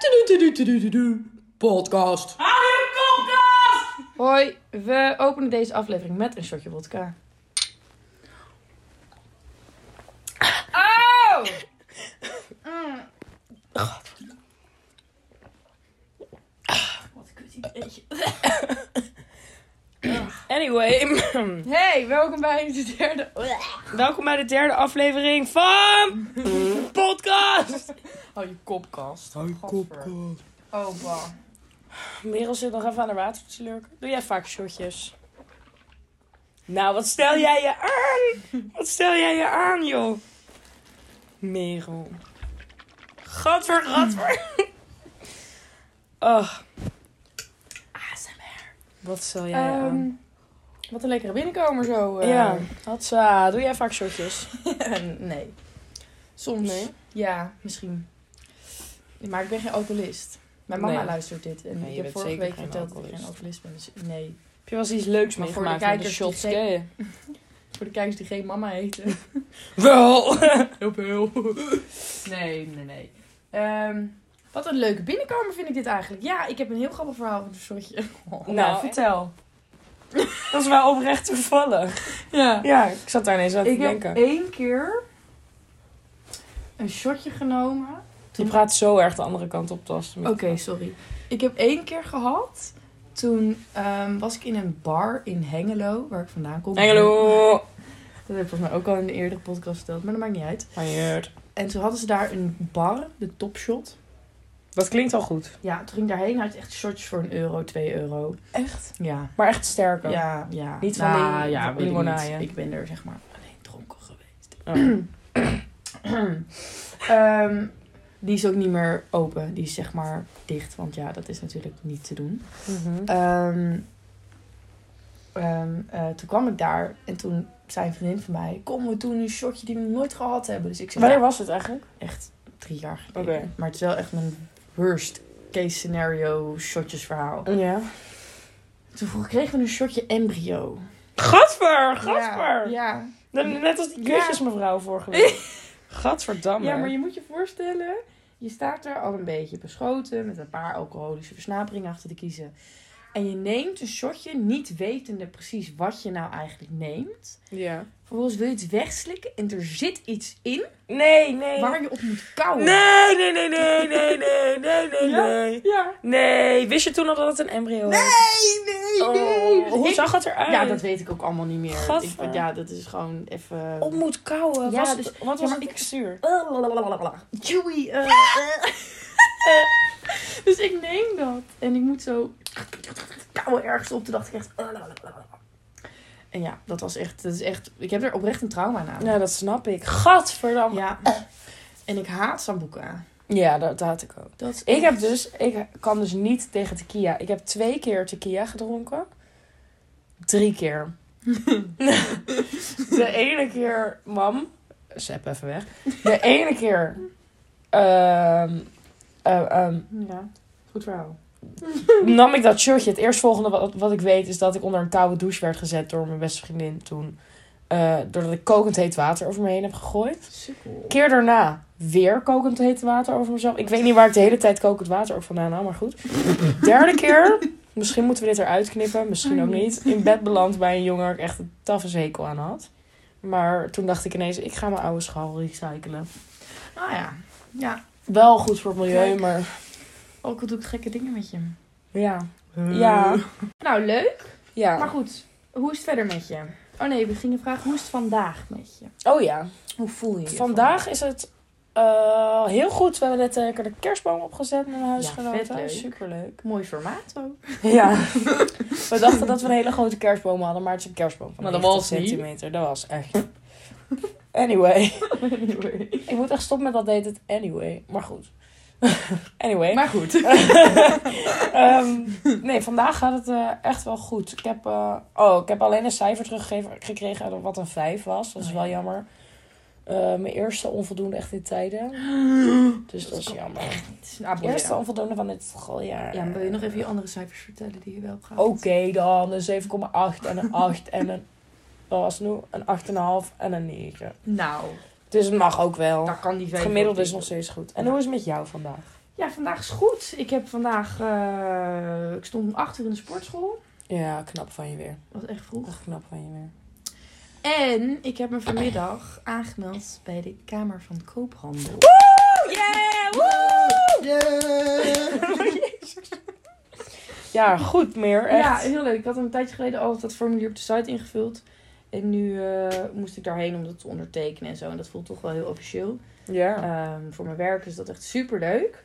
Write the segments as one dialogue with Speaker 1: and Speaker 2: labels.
Speaker 1: Tudu-tudu-tudu-tudu. Podcast.
Speaker 2: Hoi, we openen deze aflevering met een shotje vodka. Oh! Mm. Ah,
Speaker 3: Wat een kut ideetje.
Speaker 1: Anyway,
Speaker 2: Ah. Hey, welkom bij de derde...
Speaker 1: welkom bij de derde aflevering van Podcast.
Speaker 2: Oh, je kopkast.
Speaker 1: Hoi
Speaker 2: Godver. Oh, wow.
Speaker 1: Merel zit nog even aan de water te lurken. Doe jij vaak shotjes? Nou, wat stel jij je aan? Wat stel jij je aan, joh? Merel. Gadver, gadver. Oh,
Speaker 2: ASMR.
Speaker 1: wat stel jij je aan?
Speaker 2: Ehm, wat een lekkere binnenkomer zo. eh.
Speaker 1: Ja, hatsa. Doe jij vaak shotjes?
Speaker 2: nee. Soms.
Speaker 1: Nee?
Speaker 2: Ja, misschien. Maar ik ben geen alcoholist. Mijn mama
Speaker 1: Nee.
Speaker 2: luistert dit. En
Speaker 1: Nee, je
Speaker 2: ik heb
Speaker 1: bent
Speaker 2: vorige
Speaker 1: zeker
Speaker 2: week
Speaker 1: geen
Speaker 2: verteld dat ik geen
Speaker 1: alcoholist.
Speaker 2: alcoholist ben. Dus nee.
Speaker 1: Heb je wel eens iets leuks
Speaker 2: Maar voor de
Speaker 1: meegemaakt met de
Speaker 2: kijkers
Speaker 1: shots?
Speaker 2: die
Speaker 1: ken je?
Speaker 2: Voor de kijkers die geen mama heten.
Speaker 1: Wel.
Speaker 2: Hulp, hulp. Nee, nee, nee. Ehm, wat een leuke binnenkomer vind ik dit eigenlijk. Ja, ik heb een heel grappig verhaal van een shotje.
Speaker 1: Nou,
Speaker 2: vertel.
Speaker 1: Dat is wel oprecht toevallig.
Speaker 2: Ja.
Speaker 1: Ja, ik zat daar ineens aan te
Speaker 2: Ik heb
Speaker 1: denken.
Speaker 2: één keer een shotje genomen.
Speaker 1: Je praat zo erg de andere kant op, Tas.
Speaker 2: Oké, sorry. Ik heb één keer gehad. Toen ehm, was ik in een bar in Hengelo, waar ik vandaan kom.
Speaker 1: Engelo.
Speaker 2: Dat heb ik volgens mij ook al in een eerdere podcast verteld, maar dat maakt niet uit.
Speaker 1: Manjeerd.
Speaker 2: En toen hadden ze daar een bar, de Topshot.
Speaker 1: Dat klinkt al goed.
Speaker 2: Ja, toen ging ik daarheen. Had je echt shotjes voor een euro, twee euro.
Speaker 1: Echt?
Speaker 2: Ja.
Speaker 1: Maar echt sterker.
Speaker 2: Ja, ja.
Speaker 1: Niet van
Speaker 2: Nou,
Speaker 1: die-
Speaker 2: ja,
Speaker 1: van
Speaker 2: weet ik
Speaker 1: limonade.
Speaker 2: niet. Ik ben er zeg maar alleen dronken geweest.
Speaker 1: Oh.
Speaker 2: Ehm, die is ook niet meer open. Die is zeg maar dicht, want ja, dat is natuurlijk niet te doen.
Speaker 1: Mhm.
Speaker 2: Ehm, ehm, eh, toen kwam ik daar en toen zei een vriendin van mij... Kom, we doen een shotje die we nog nooit gehad hebben. Dus ik zei,
Speaker 1: Wanneer
Speaker 2: ja,
Speaker 1: was het eigenlijk?
Speaker 2: echt drie jaar geleden.
Speaker 1: Oké.
Speaker 2: Maar het is wel echt mijn worst case scenario shotjesverhaal.
Speaker 1: Ja.
Speaker 2: Toen vroeg, kregen we een shotje embryo.
Speaker 1: Gadver, gadver.
Speaker 2: Ja, ja.
Speaker 1: Dan- Net als die
Speaker 2: Ja.
Speaker 1: kusjesmevrouw vorige week. Gadverdamme.
Speaker 2: Ja, maar je moet je voorstellen, je staat er al een beetje beschoten met een paar alcoholische versnaperingen achter de kiezen. En je neemt een shotje, niet wetende precies wat je nou eigenlijk neemt.
Speaker 1: Ja.
Speaker 2: Vervolgens wil je het wegslikken en er zit iets in
Speaker 1: Nee, nee.
Speaker 2: waar je op moet kouwen.
Speaker 1: Nee, nee, nee, nee, nee, nee, nee, nee,
Speaker 2: Ja?
Speaker 1: nee.
Speaker 2: Ja.
Speaker 1: Nee, wist je toen al dat het een embryo was?
Speaker 2: Nee, nee, nee.
Speaker 1: Oh, hoe
Speaker 2: Ik-
Speaker 1: zag het eruit?
Speaker 2: Ja, dat weet ik ook allemaal niet meer.
Speaker 1: Gadver.
Speaker 2: Ik, ja, dat is gewoon even...
Speaker 1: Op moet kouwen.
Speaker 2: Ja,
Speaker 1: was
Speaker 2: dus-
Speaker 1: het, wat
Speaker 2: ja,
Speaker 1: was
Speaker 2: maar
Speaker 1: het
Speaker 2: ik-
Speaker 1: textuur?
Speaker 2: Chewy. eh, eh. dus ik neem dat. En ik moet zo kouwen ergens op. Toen dacht ik echt... En ja, dat was echt... Dat is echt ik heb er oprecht een trauma aan.
Speaker 1: Ja, dat snap ik. Gadverdamme.
Speaker 2: Ja. En ik haat Sambuca.
Speaker 1: Ja, dat, dat had ik ook.
Speaker 2: Dat is
Speaker 1: Ik heb
Speaker 2: echt-
Speaker 1: dus, ik kan dus niet tegen tequila. Ik heb twee keer tequila gedronken. Drie keer. de ene keer, mam. Zep even weg. De ene keer. ehm, eh, ehm,
Speaker 2: Ja, goed verhaal.
Speaker 1: nam ik dat shirtje. Het eerstvolgende wat, wat ik weet is dat ik onder een koude douche werd gezet door mijn beste vriendin toen. eh, doordat ik kokend heet water over me heen heb gegooid.
Speaker 2: Sukkel.
Speaker 1: Keer daarna weer kokend heet water over mezelf. Ik weet niet waar ik de hele tijd kokend water ook vandaan haal, maar goed. Derde keer, misschien moeten we dit eruit knippen, misschien ook niet. In bed beland bij een jongen waar ik echt een taffe zekel aan had. Maar toen dacht ik ineens, ik ga mijn oude schaal recyclen.
Speaker 2: Ah ja. Ja.
Speaker 1: Wel goed voor het milieu,
Speaker 2: Kijk.
Speaker 1: maar
Speaker 2: Ook al doe ik gekke dingen met je.
Speaker 1: ja. Ja.
Speaker 2: Nou, leuk. Maar
Speaker 1: Ja.
Speaker 2: goed. Hoe is het verder met je? Oh nee, we gingen vragen. Hoe is het vandaag met je?
Speaker 1: Oh ja.
Speaker 2: Hoe voel je je?
Speaker 1: Vandaag is het eh, heel goed. We hebben net lekker de kerstboom opgezet met mijn
Speaker 2: Ja, vet
Speaker 1: huisgenoten.
Speaker 2: leuk.
Speaker 1: Superleuk.
Speaker 2: Mooi formaat ook.
Speaker 1: Ja. we dachten dat we een hele grote kerstboom hadden, maar het is een kerstboom van
Speaker 2: Maar dat
Speaker 1: 90
Speaker 2: was niet.
Speaker 1: centimeter. Dat was echt. Anyway.
Speaker 2: Anyway.
Speaker 1: Ik moet echt stoppen met dat deed het anyway. Maar goed. anyway.
Speaker 2: Maar goed.
Speaker 1: Ehm, nee, vandaag gaat het eh, echt wel goed. Ik heb, eh, oh, ik heb alleen een cijfer teruggekregen uit wat een 5 was. Dat is
Speaker 2: Oh,
Speaker 1: wel
Speaker 2: ja.
Speaker 1: jammer. Eh, mijn eerste onvoldoende echt in tijden. Dus dat is jammer. De eerste onvoldoende van dit schooljaar.
Speaker 2: Ja, maar wil je nog even je andere cijfers vertellen die je wel hebt
Speaker 1: Oké
Speaker 2: gehaald?
Speaker 1: dan, een 7,8 en een 8 en een... Wat was het nu? Een 8,5 en een 9.
Speaker 2: Nou,
Speaker 1: Dus het mag ook wel.
Speaker 2: daar kan die
Speaker 1: Het
Speaker 2: vijf
Speaker 1: gemiddelde
Speaker 2: wel
Speaker 1: is nog
Speaker 2: tegen.
Speaker 1: steeds goed. En hoe is het met jou vandaag?
Speaker 2: Ja, vandaag is goed. Ik heb vandaag... eh, ik stond om acht uur in de sportschool.
Speaker 1: Ja, knap van je weer.
Speaker 2: Dat was echt vroeg.
Speaker 1: Echt knap van je weer.
Speaker 2: En ik heb me vanmiddag aangemeld bij de Kamer van Koophandel.
Speaker 1: Yeah! Ja, goed meer. Echt.
Speaker 2: Ja, heel leuk. Ik had een tijdje geleden al dat formulier op de site ingevuld. En nu eh, moest ik daarheen om dat te ondertekenen en zo. En dat voelt toch wel heel officieel.
Speaker 1: Ja.
Speaker 2: Ehm, voor mijn werk is dat echt super leuk.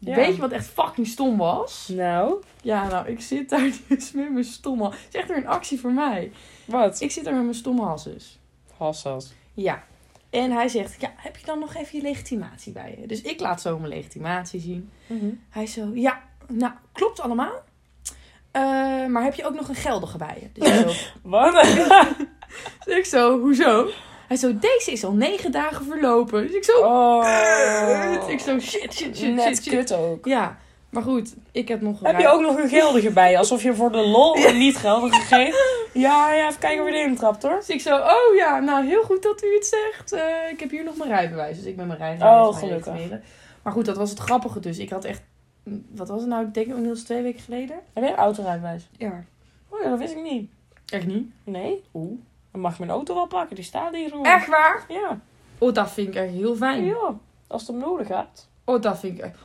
Speaker 1: Ja.
Speaker 2: Weet je wat echt fucking stom was?
Speaker 1: Nou,
Speaker 2: Ja, nou, ik zit daar dus met mijn stomme... Het is echt weer een actie voor mij.
Speaker 1: wat?
Speaker 2: Ik zit daar met mijn stomme hasses.
Speaker 1: Hassas.
Speaker 2: Ja. En hij zegt, ja, heb je dan nog even je legitimatie bij je? Dus ik laat zo mijn legitimatie zien.
Speaker 1: Mhm.
Speaker 2: Hij zo, ja, nou, klopt allemaal. Eh, maar heb je ook nog een geldige bij je? Dus ik, zo,
Speaker 1: Wat?
Speaker 2: dus ik zo, hoezo? Hij zo, deze is al negen dagen verlopen. Dus ik zo,
Speaker 1: Oh.
Speaker 2: kut. Ik zo, shit, shit, shit,
Speaker 1: Net
Speaker 2: shit, shit.
Speaker 1: kut ook.
Speaker 2: Ja, maar goed, ik heb nog een
Speaker 1: Heb je
Speaker 2: raar-
Speaker 1: ook nog een geldige bij je? Alsof je voor de lol een niet geldig gegeven. Ja, ja, even kijken of je erin trapt hoor.
Speaker 2: Dus ik zo, oh ja, nou heel goed dat u het zegt. Eh, ik heb hier nog mijn rijbewijs, dus ik ben mijn rijbewijs
Speaker 1: Oh,
Speaker 2: aan het
Speaker 1: gelukkig.
Speaker 2: registreren. Maar goed, dat was het grappige dus. Ik had echt, wat was het nou, ik denk inmiddels twee weken geleden?
Speaker 1: Heb je een autorijbewijs?
Speaker 2: Ja.
Speaker 1: Oh ja, dat wist ik niet.
Speaker 2: Echt niet?
Speaker 1: Nee?
Speaker 2: Oeh.
Speaker 1: Dan mag je mijn auto wel pakken, die staat hier gewoon.
Speaker 2: Echt waar?
Speaker 1: Ja.
Speaker 2: Oh, dat vind ik echt heel fijn.
Speaker 1: Ja. Als het om nodig gaat.
Speaker 2: Oh, dat vind ik echt...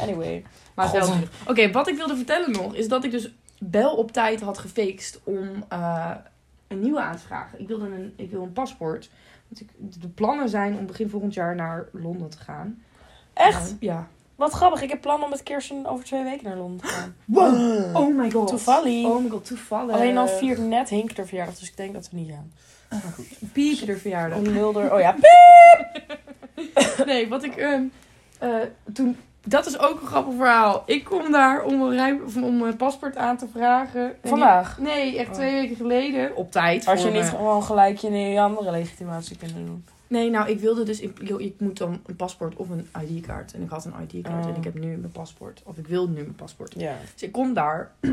Speaker 1: Anyway.
Speaker 2: Maar
Speaker 1: God.
Speaker 2: wel terug. Oké, wat ik wilde vertellen nog, is dat ik dus wel op tijd had gefixt om eh, een nieuwe aan te vragen. Ik, wilde een, ik wil een paspoort. Want ik, de plannen zijn om begin volgend jaar naar Londen te gaan.
Speaker 1: Echt?
Speaker 2: Nou, ja.
Speaker 1: Wat grappig, ik heb plan om met Kirsten over twee weken naar Londen te gaan.
Speaker 2: Wow. Oh my god.
Speaker 1: Toevallig.
Speaker 2: Oh my god, toevallig.
Speaker 1: Alleen al vier net Hink er verjaardag, dus ik denk dat we niet gaan.
Speaker 2: Pietje de verjaardag.
Speaker 1: Om Mulder, oh ja,
Speaker 2: Nee, wat ik... ehm, eh, toen, dat is ook een grappig verhaal. Ik kom daar om mijn, rij, of om mijn paspoort aan te vragen. En die-
Speaker 1: vandaag.
Speaker 2: Nee, echt twee weken geleden. Op tijd.
Speaker 1: Als je
Speaker 2: voor
Speaker 1: niet
Speaker 2: me.
Speaker 1: gewoon gelijk je je andere legitimatie kunt doen.
Speaker 2: Nee, nou, ik wilde dus... Ik, yo, ik moet dan een paspoort of een ID-kaart. En ik had een ID-kaart
Speaker 1: Oh.
Speaker 2: en ik heb nu mijn paspoort. Of ik wil nu mijn paspoort.
Speaker 1: Ja.
Speaker 2: Dus ik kom daar.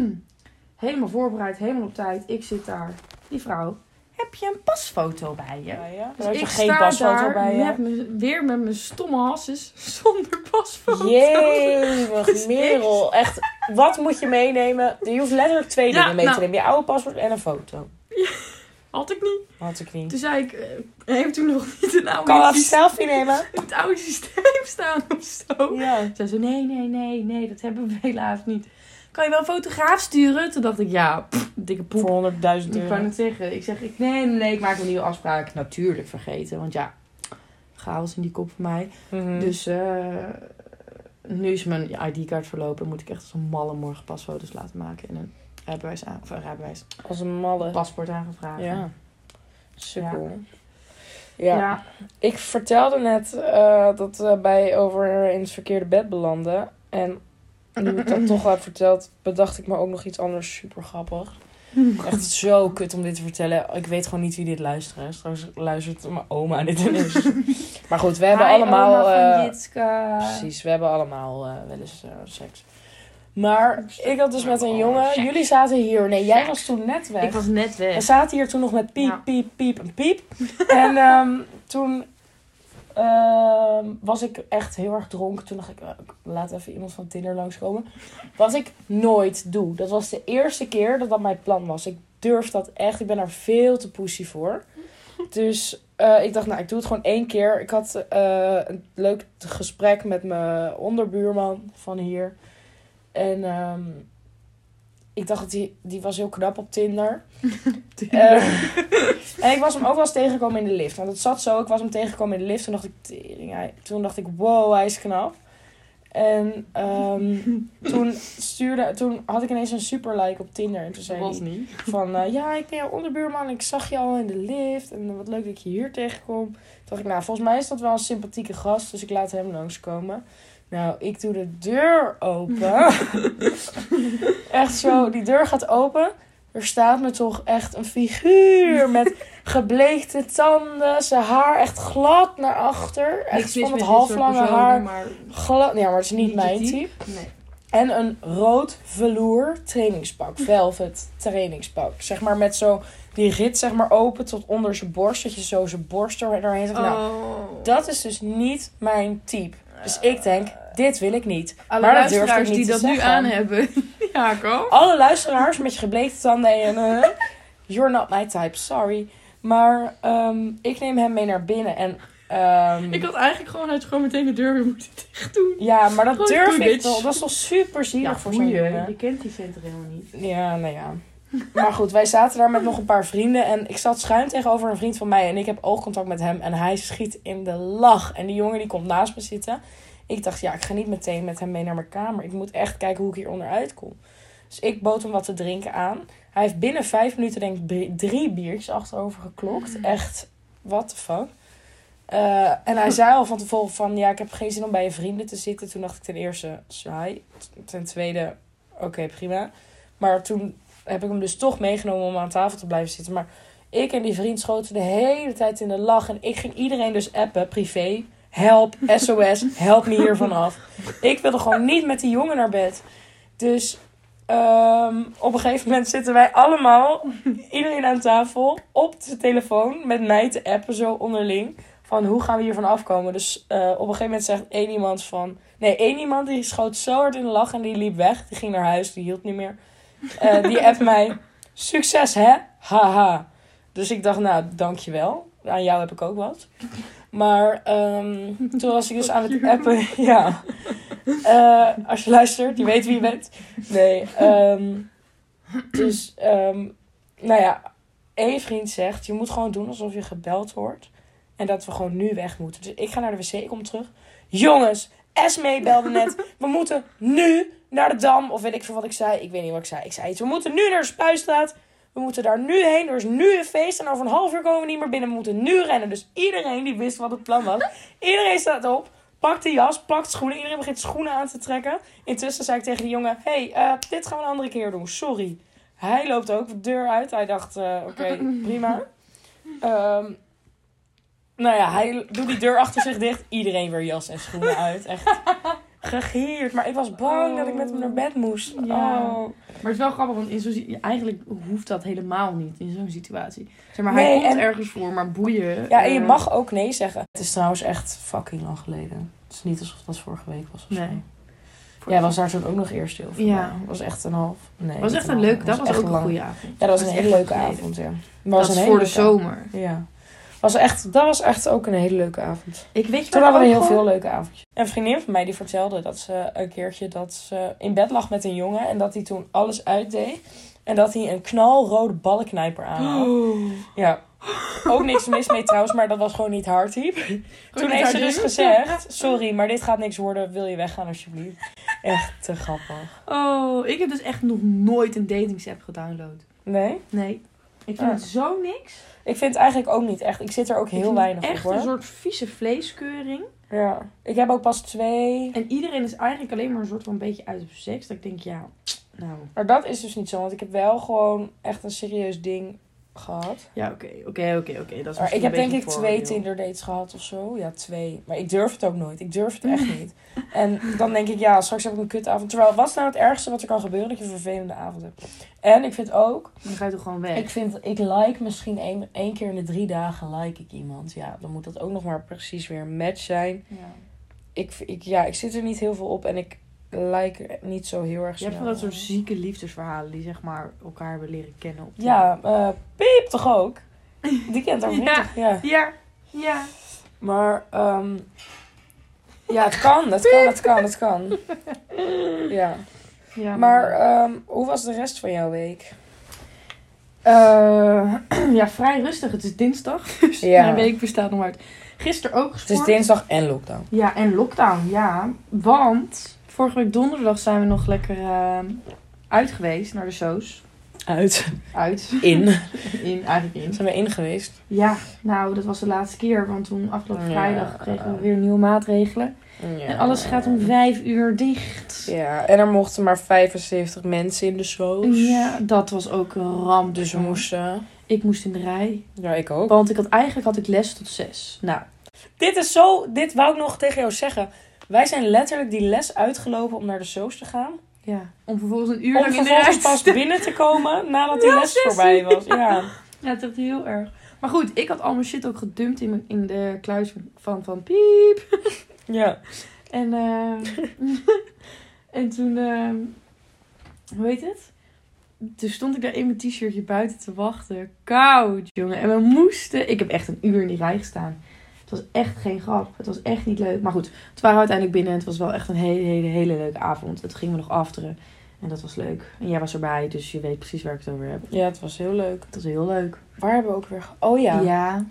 Speaker 2: helemaal voorbereid, helemaal op tijd. Ik zit daar. Die vrouw. Heb je een pasfoto bij je?
Speaker 1: Ja, ja. Dan
Speaker 2: Dus
Speaker 1: heb je
Speaker 2: ik
Speaker 1: geen
Speaker 2: sta
Speaker 1: pasfoto
Speaker 2: daar
Speaker 1: bij
Speaker 2: met
Speaker 1: je.
Speaker 2: mijn- weer met mijn stomme hasses zonder pasfoto.
Speaker 1: Jee,
Speaker 2: Dus
Speaker 1: Merel. Echt, wat moet je meenemen? Je hoeft letterlijk twee
Speaker 2: Ja,
Speaker 1: dingen mee te
Speaker 2: nou.
Speaker 1: nemen. Je oude paspoort en een foto.
Speaker 2: Had ik niet.
Speaker 1: Had ik niet.
Speaker 2: Toen zei ik, eh, heeft u nog niet een oude,
Speaker 1: Kan dat
Speaker 2: systeem-
Speaker 1: selfie nemen?
Speaker 2: het oude systeem staan of zo?
Speaker 1: Ja.
Speaker 2: Zij zei, nee, nee, nee, nee, dat hebben we helaas niet. Kan je wel een fotograaf sturen? Toen dacht ik, ja, pff, dikke poep.
Speaker 1: Voor 100.000
Speaker 2: Ik kan
Speaker 1: euro.
Speaker 2: het zeggen. Ik zeg, ik, nee, nee, nee, ik maak een nieuwe afspraak. Natuurlijk vergeten, want ja, chaos in die kop van mij.
Speaker 1: Mhm.
Speaker 2: Dus eh, nu is mijn ID-kaart verlopen. Moet ik echt als een malle morgen pasfoto's laten maken. En een rijbewijs, aan, of een rijbewijs
Speaker 1: Als een malle.
Speaker 2: paspoort aangevraagd.
Speaker 1: Ja. Sukkel.
Speaker 2: Ja.
Speaker 1: ja. Ik vertelde net eh, dat we bij over in het verkeerde bed belanden. En nu ik dat toch heb verteld, bedacht ik me ook nog iets anders super grappig. Echt zo kut om dit te vertellen. Ik weet gewoon niet wie dit luistert. Straks luistert mijn oma dit ineens. Maar goed, we hebben allemaal... eh, Precies, we hebben allemaal eh, wel eens eh, seks. Maar ik had dus met een jongen... Jullie zaten hier. Nee, jij was toen net weg.
Speaker 2: Ik was net
Speaker 1: We
Speaker 2: weg.
Speaker 1: zaten hier toen nog met piep,
Speaker 2: Ja.
Speaker 1: piep, piep en piep. en ehm, toen ehm, was ik echt heel erg dronken. Toen dacht ik, eh, ik laat even iemand van Tinder langskomen. Wat ik nooit doe. Dat was de eerste keer dat dat mijn plan was. Ik durf dat echt. Ik ben daar veel te pussy voor. Dus eh, ik dacht, nou, ik doe het gewoon één keer. Ik had eh, een leuk gesprek met mijn onderbuurman van hier. En ehm, ik dacht, dat die, die was heel knap op Tinder. Eh, en ik was hem ook wel eens tegengekomen in de lift. Want het zat zo, ik was hem tegengekomen in de lift. Toen dacht ik, "Tering, hij- toen dacht ik wow, hij is knap. En ehm, toen, stuurde, toen had ik ineens een super like op Tinder. En toen zei hij,
Speaker 2: niet.
Speaker 1: van, eh, ja, ik ben jouw onderbuurman. Ik zag je al in de lift. En wat leuk dat ik je hier tegenkom. Toen dacht ik, nou, volgens mij is dat wel een sympathieke gast. Dus ik laat hem langskomen. Nou, ik doe de deur open. echt zo, die deur gaat open. Er staat me toch echt een figuur met gebleekte tanden. Zijn haar echt glad naar achter. Echt van het halflange haar.
Speaker 2: Maar...
Speaker 1: Glad, ja, maar het is niet
Speaker 2: Niet je
Speaker 1: mijn
Speaker 2: type.
Speaker 1: type.
Speaker 2: Nee.
Speaker 1: En een rood velour trainingspak. Velvet trainingspak. Zeg maar met zo die rit zeg maar open tot onder zijn borst. Dat je zo Oh. zijn borst er doorheen zegt. Nou,
Speaker 2: Oh. Ah.
Speaker 1: dat is dus niet mijn type. Dus ik denk, dit wil ik niet.
Speaker 2: Alle
Speaker 1: Maar dat durf ik
Speaker 2: luisteraars
Speaker 1: niet
Speaker 2: die
Speaker 1: te
Speaker 2: dat nu
Speaker 1: zeggen.
Speaker 2: aan hebben. ja, kom.
Speaker 1: Alle luisteraars met je gebleekte tanden en... eh, you're not my type, sorry. Maar ehm, ik neem hem mee naar binnen en... ehm,
Speaker 2: Ik had eigenlijk gewoon uit gewoon meteen de deur weer moeten dicht doen.
Speaker 1: Ja, maar dat
Speaker 2: Gewoon
Speaker 1: durf
Speaker 2: doe
Speaker 1: ik
Speaker 2: dit.
Speaker 1: toch. Dat is toch super zielig voor zo'n jongen.
Speaker 2: Je kent die center helemaal niet.
Speaker 1: Ja, nou ja. Maar goed, wij zaten daar met nog een paar vrienden. En ik zat schuin tegenover een vriend van mij. En ik heb oogcontact met hem. En hij schiet in de lach. En die jongen die komt naast me zitten. Ik dacht, ja, ik ga niet meteen met hem mee naar mijn kamer. Ik moet echt kijken hoe ik hieronder uitkom. Dus ik bood hem wat te drinken aan. Hij heeft binnen vijf minuten, denk ik, drie- drie biertjes achterover geklokt. Echt, what the fuck. Eh, en hij zei al van tevoren van, ja, ik heb geen zin om bij je vrienden te zitten. Toen dacht ik ten eerste, saai. Ten tweede, oké, prima. Maar toen heb ik hem dus toch meegenomen om aan tafel te blijven zitten. Maar ik en die vriend schoten de hele tijd in de lach. En ik ging iedereen dus appen, privé. Help, SOS, help me hiervan af. Ik wilde gewoon niet met die jongen naar bed. Dus ehm, op een gegeven moment zitten wij allemaal, iedereen aan tafel, op de telefoon met mij te appen zo onderling. Van hoe gaan we hiervan afkomen? Dus eh, op een gegeven moment zegt één iemand van... Nee, één iemand die schoot zo hard in de lach en die liep weg. Die ging naar huis, die hield niet meer. Eh, die appt mij, succes hè? Haha. Dus ik dacht, nou, dankjewel. Aan jou heb ik ook wat. Maar ehm, toen was ik dus aan het appen. Ja. Eh, als je luistert, je weet wie je bent. Nee. ehm, dus, ehm, nou ja. één vriend zegt, je moet gewoon doen alsof je gebeld wordt. En dat we gewoon nu weg moeten. Dus ik ga naar de wc, ik kom terug. Jongens, Esme belde net. We moeten nu naar de Dam. Of weet ik veel wat ik zei. Ik weet niet wat ik zei. Ik zei iets. We moeten nu naar de Spuistraat. We moeten daar nu heen. Er is nu een feest. En over een half uur komen we niet meer binnen. We moeten nu rennen. Dus iedereen die wist wat het plan was. Iedereen staat op. Pakt de jas. Pakt schoenen. Iedereen begint schoenen aan te trekken. Intussen zei ik tegen die jongen. hey, eh, dit gaan we een andere keer doen. Sorry. Hij loopt ook de deur uit. Hij dacht, eh, oké, prima. Ehm, nou ja, hij doet die deur achter zich dicht. Iedereen weer jas en schoenen uit. Echt gegeerd. Maar ik was bang dat ik met hem naar bed moest.
Speaker 2: Ja.
Speaker 1: Oh.
Speaker 2: Maar het is wel grappig, want in zo'n si- eigenlijk hoeft dat helemaal niet in zo'n situatie. Zeg maar,
Speaker 1: Nee,
Speaker 2: hij komt
Speaker 1: en-
Speaker 2: ergens voor, maar boeien.
Speaker 1: Ja, en je
Speaker 2: eh,
Speaker 1: mag ook nee zeggen. Het is trouwens echt fucking lang geleden. Het is niet alsof dat vorige week was. Of zo.
Speaker 2: Nee.
Speaker 1: Jij was daar toen ook nog eerst heel veel.
Speaker 2: Ja.
Speaker 1: Ja. was echt een half. Nee.
Speaker 2: Het was
Speaker 1: niet
Speaker 2: echt een
Speaker 1: half.
Speaker 2: leuk, dat was
Speaker 1: echt
Speaker 2: ook een
Speaker 1: lang.
Speaker 2: goede avond.
Speaker 1: Ja, dat was een
Speaker 2: echt
Speaker 1: hele leuke
Speaker 2: geleden.
Speaker 1: avond, ja.
Speaker 2: Dat
Speaker 1: een
Speaker 2: was
Speaker 1: hele
Speaker 2: voor de
Speaker 1: leuke avond.
Speaker 2: zomer.
Speaker 1: Ja. Was echt, dat was echt ook een hele leuke avond.
Speaker 2: Ik weet je
Speaker 1: Toen
Speaker 2: waar
Speaker 1: hadden we
Speaker 2: ook
Speaker 1: heel
Speaker 2: gewoon-
Speaker 1: veel leuke avondjes. Een vriendin van mij die vertelde dat ze een keertje dat ze in bed lag met een jongen. En dat hij toen alles uitdeed. En dat hij een knalrode ballenknijper aan had.
Speaker 2: Oh.
Speaker 1: Ja. Ook niks mis mee trouwens, maar dat was gewoon niet hard type. Toen
Speaker 2: niet
Speaker 1: heeft ze
Speaker 2: haar
Speaker 1: dus
Speaker 2: ding.
Speaker 1: gezegd: Sorry, maar dit gaat niks worden. Wil je weggaan, alsjeblieft? Echt te grappig.
Speaker 2: Oh, ik heb dus echt nog nooit een datingsapp gedownload.
Speaker 1: Nee?
Speaker 2: Nee. Ik vind
Speaker 1: Ja.
Speaker 2: het zo niks.
Speaker 1: Ik vind het eigenlijk ook niet echt. Ik zit er ook
Speaker 2: Ik
Speaker 1: heel
Speaker 2: vind
Speaker 1: weinig
Speaker 2: het
Speaker 1: op
Speaker 2: Echt
Speaker 1: hoor.
Speaker 2: een soort vieze vleeskeuring.
Speaker 1: Ja. Ik heb ook pas twee.
Speaker 2: En iedereen is eigenlijk alleen maar een soort van een beetje uit op seks. Dat ik denk, ja, nou.
Speaker 1: Maar dat is dus niet zo, want ik heb wel gewoon echt een serieus ding gehad.
Speaker 2: Ja, oké, oké, oké, oké. Dat is
Speaker 1: Maar ik
Speaker 2: misschien
Speaker 1: heb
Speaker 2: een
Speaker 1: denk
Speaker 2: beetje
Speaker 1: ik
Speaker 2: een
Speaker 1: twee
Speaker 2: vooroordeel.
Speaker 1: Tinder dates gehad of zo. Ja, twee. Maar ik durf het ook nooit. Ik durf het echt niet. En dan denk ik, ja, straks heb ik een kutavond. Terwijl, wat is nou het ergste wat er kan gebeuren? Dat je een vervelende avond hebt. En ik vind ook,
Speaker 2: Dan ga je toch gewoon weg.
Speaker 1: Ik vind, ik like misschien één, één keer in de drie dagen like ik iemand. Ja, dan moet dat ook nog maar precies weer een match zijn.
Speaker 2: Ja.
Speaker 1: Ik, ik, ja, ik zit er niet heel veel op en ik like niet zo heel erg
Speaker 2: Je
Speaker 1: snel.
Speaker 2: hebt van dat soort zieke liefdesverhalen die zeg maar elkaar hebben leren kennen. Op die-
Speaker 1: Ja, eh Piep toch ook? Die kent haar
Speaker 2: Ja.
Speaker 1: niet toch? Ja.
Speaker 2: Ja, ja.
Speaker 1: Maar, ehm ja, het kan, het kan, het kan, het kan. Ja.
Speaker 2: ja
Speaker 1: Maar, ehm, hoe was de rest van jouw week?
Speaker 2: Eh, ja, vrij rustig. Het is dinsdag. Dus
Speaker 1: Ja.
Speaker 2: mijn week bestaat nog maar uit. Gisteren ook
Speaker 1: Het is
Speaker 2: gesport.
Speaker 1: dinsdag en lockdown.
Speaker 2: Ja, en lockdown, ja. Want vorige week donderdag zijn we nog lekker eh, uit geweest naar de Soos.
Speaker 1: Uit.
Speaker 2: Uit.
Speaker 1: In.
Speaker 2: In, eigenlijk in.
Speaker 1: Zijn we in geweest?
Speaker 2: Ja, nou, dat was de laatste keer. Want toen afgelopen
Speaker 1: Ja.
Speaker 2: vrijdag kregen we weer nieuwe maatregelen. En alles gaat om vijf uur dicht.
Speaker 1: Ja, en er mochten maar 75 mensen in de shows.
Speaker 2: Ja, dat was ook een ramp.
Speaker 1: Dus we moesten...
Speaker 2: Ik moest in de rij.
Speaker 1: Ja, ik ook.
Speaker 2: Want ik had, eigenlijk had ik les tot zes. Nou,
Speaker 1: Dit is zo... Dit wou ik nog tegen jou zeggen. Wij zijn letterlijk die les uitgelopen om naar de shows te gaan.
Speaker 2: ja. Om vervolgens een uur
Speaker 1: Om vervolgens pas binnen te komen nadat die les voorbij was. Ja.
Speaker 2: Ja, het is echt heel erg. Maar goed, ik had al mijn shit ook gedumpt in, mijn- in de kluis van, van Piep.
Speaker 1: ja.
Speaker 2: En, eh, en toen, eh, hoe heet het? Toen stond ik daar in mijn t-shirtje buiten te wachten. Koud, jongen. En we moesten... Ik heb echt een uur in die rij gestaan. Het was echt geen grap. Het was echt niet leuk. Maar goed, het waren we uiteindelijk binnen. en Het was wel echt een hele, hele, hele leuke avond. Het gingen we nog afteren. En dat was leuk. En jij was erbij, dus je weet precies waar ik het over heb.
Speaker 1: Ja, het was heel leuk.
Speaker 2: Het was heel leuk.
Speaker 1: Waar hebben we ook weer... ge- Oh ja. ja.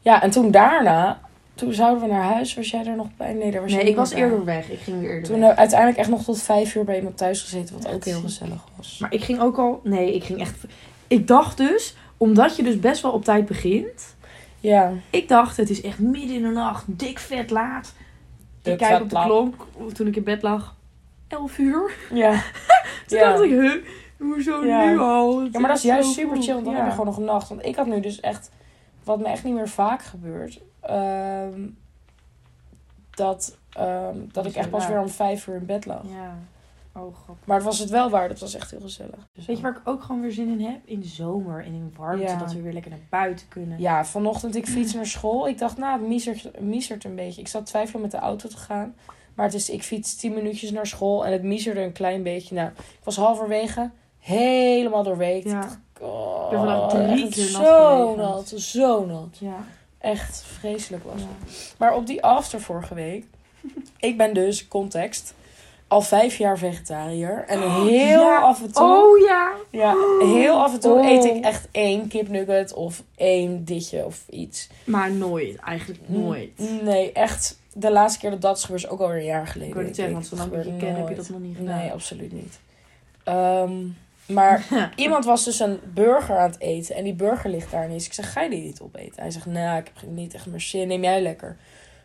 Speaker 2: ja.
Speaker 1: en toen daarna... Toen zouden we naar huis. Was jij er nog bij? Nee, daar was
Speaker 2: Nee,
Speaker 1: jij
Speaker 2: ik was
Speaker 1: niet bij.
Speaker 2: eerder weg. Ik ging weer eerder
Speaker 1: Toen
Speaker 2: weg.
Speaker 1: hebben we uiteindelijk echt nog tot vijf uur bij iemand thuis gezeten. Wat ook
Speaker 2: Echt
Speaker 1: heel
Speaker 2: ziek.
Speaker 1: gezellig was.
Speaker 2: Maar ik ging ook al... Nee, ik ging echt... Ik dacht dus, omdat je dus best wel op tijd begint...
Speaker 1: Ja.
Speaker 2: Ik dacht, het is echt midden in de nacht, dik vet laat.
Speaker 1: Dik
Speaker 2: ik kijk
Speaker 1: vet
Speaker 2: op de
Speaker 1: laat.
Speaker 2: klok, toen ik in bed lag, 11 uur.
Speaker 1: Ja.
Speaker 2: Toen
Speaker 1: Ja.
Speaker 2: dacht ik, huh, hoezo
Speaker 1: Ja.
Speaker 2: nu al? Het
Speaker 1: Ja, maar dat is juist
Speaker 2: zo
Speaker 1: super
Speaker 2: vroeg.
Speaker 1: chill. Want dan
Speaker 2: Ja.
Speaker 1: heb je gewoon nog een nacht. Want ik had nu dus echt... Wat me echt niet meer vaak gebeurt... ehm, dat, ehm, dat
Speaker 2: Dat
Speaker 1: ik
Speaker 2: is
Speaker 1: echt
Speaker 2: wel
Speaker 1: pas
Speaker 2: waar.
Speaker 1: weer om vijf uur in bed lag.
Speaker 2: Ja, oh god.
Speaker 1: Maar het was het wel waard. Het was echt heel gezellig. Dus
Speaker 2: Weet je waar ik ook gewoon weer zin in heb? In de zomer en in warmte,
Speaker 1: Ja.
Speaker 2: dat we weer lekker naar buiten kunnen.
Speaker 1: Ja, vanochtend ik fiets naar school. Ik dacht, nou, het miezert, miezert een beetje. Ik zat twijfelen met de auto te gaan. Maar het is, ik fiets tien minuutjes naar school en het miezerde een klein beetje. Nou, ik was halverwege helemaal doorweekt.
Speaker 2: Ja.
Speaker 1: Oh,
Speaker 2: Ik ben vandaag drie
Speaker 1: echt
Speaker 2: keer nat
Speaker 1: Zo
Speaker 2: geregend.
Speaker 1: nat, zo nat.
Speaker 2: Ja.
Speaker 1: Echt vreselijk was
Speaker 2: Ja.
Speaker 1: het. Maar op die after vorige week, ik ben dus, context, al vijf jaar vegetariër. En heel
Speaker 2: ja.
Speaker 1: af en toe...
Speaker 2: Oh ja!
Speaker 1: Ja, heel af en toe
Speaker 2: Oh.
Speaker 1: eet ik echt één kipnugget of één ditje of iets.
Speaker 2: Maar nooit, eigenlijk nooit.
Speaker 1: Nee, echt. De laatste keer dat dat is gebeurd is ook alweer een jaar geleden.
Speaker 2: Ik wil het zeggen, want zolang ik je
Speaker 1: gebeurt
Speaker 2: ken heb je
Speaker 1: nooit.
Speaker 2: dat nog niet gedaan.
Speaker 1: Nee, absoluut niet. Ehm, maar iemand was dus een burger aan het eten. En die burger ligt daar niet. Dus Ik zeg, ga je die niet opeten? Hij zegt, nou, ik heb niet echt meer zin. Neem jij lekker.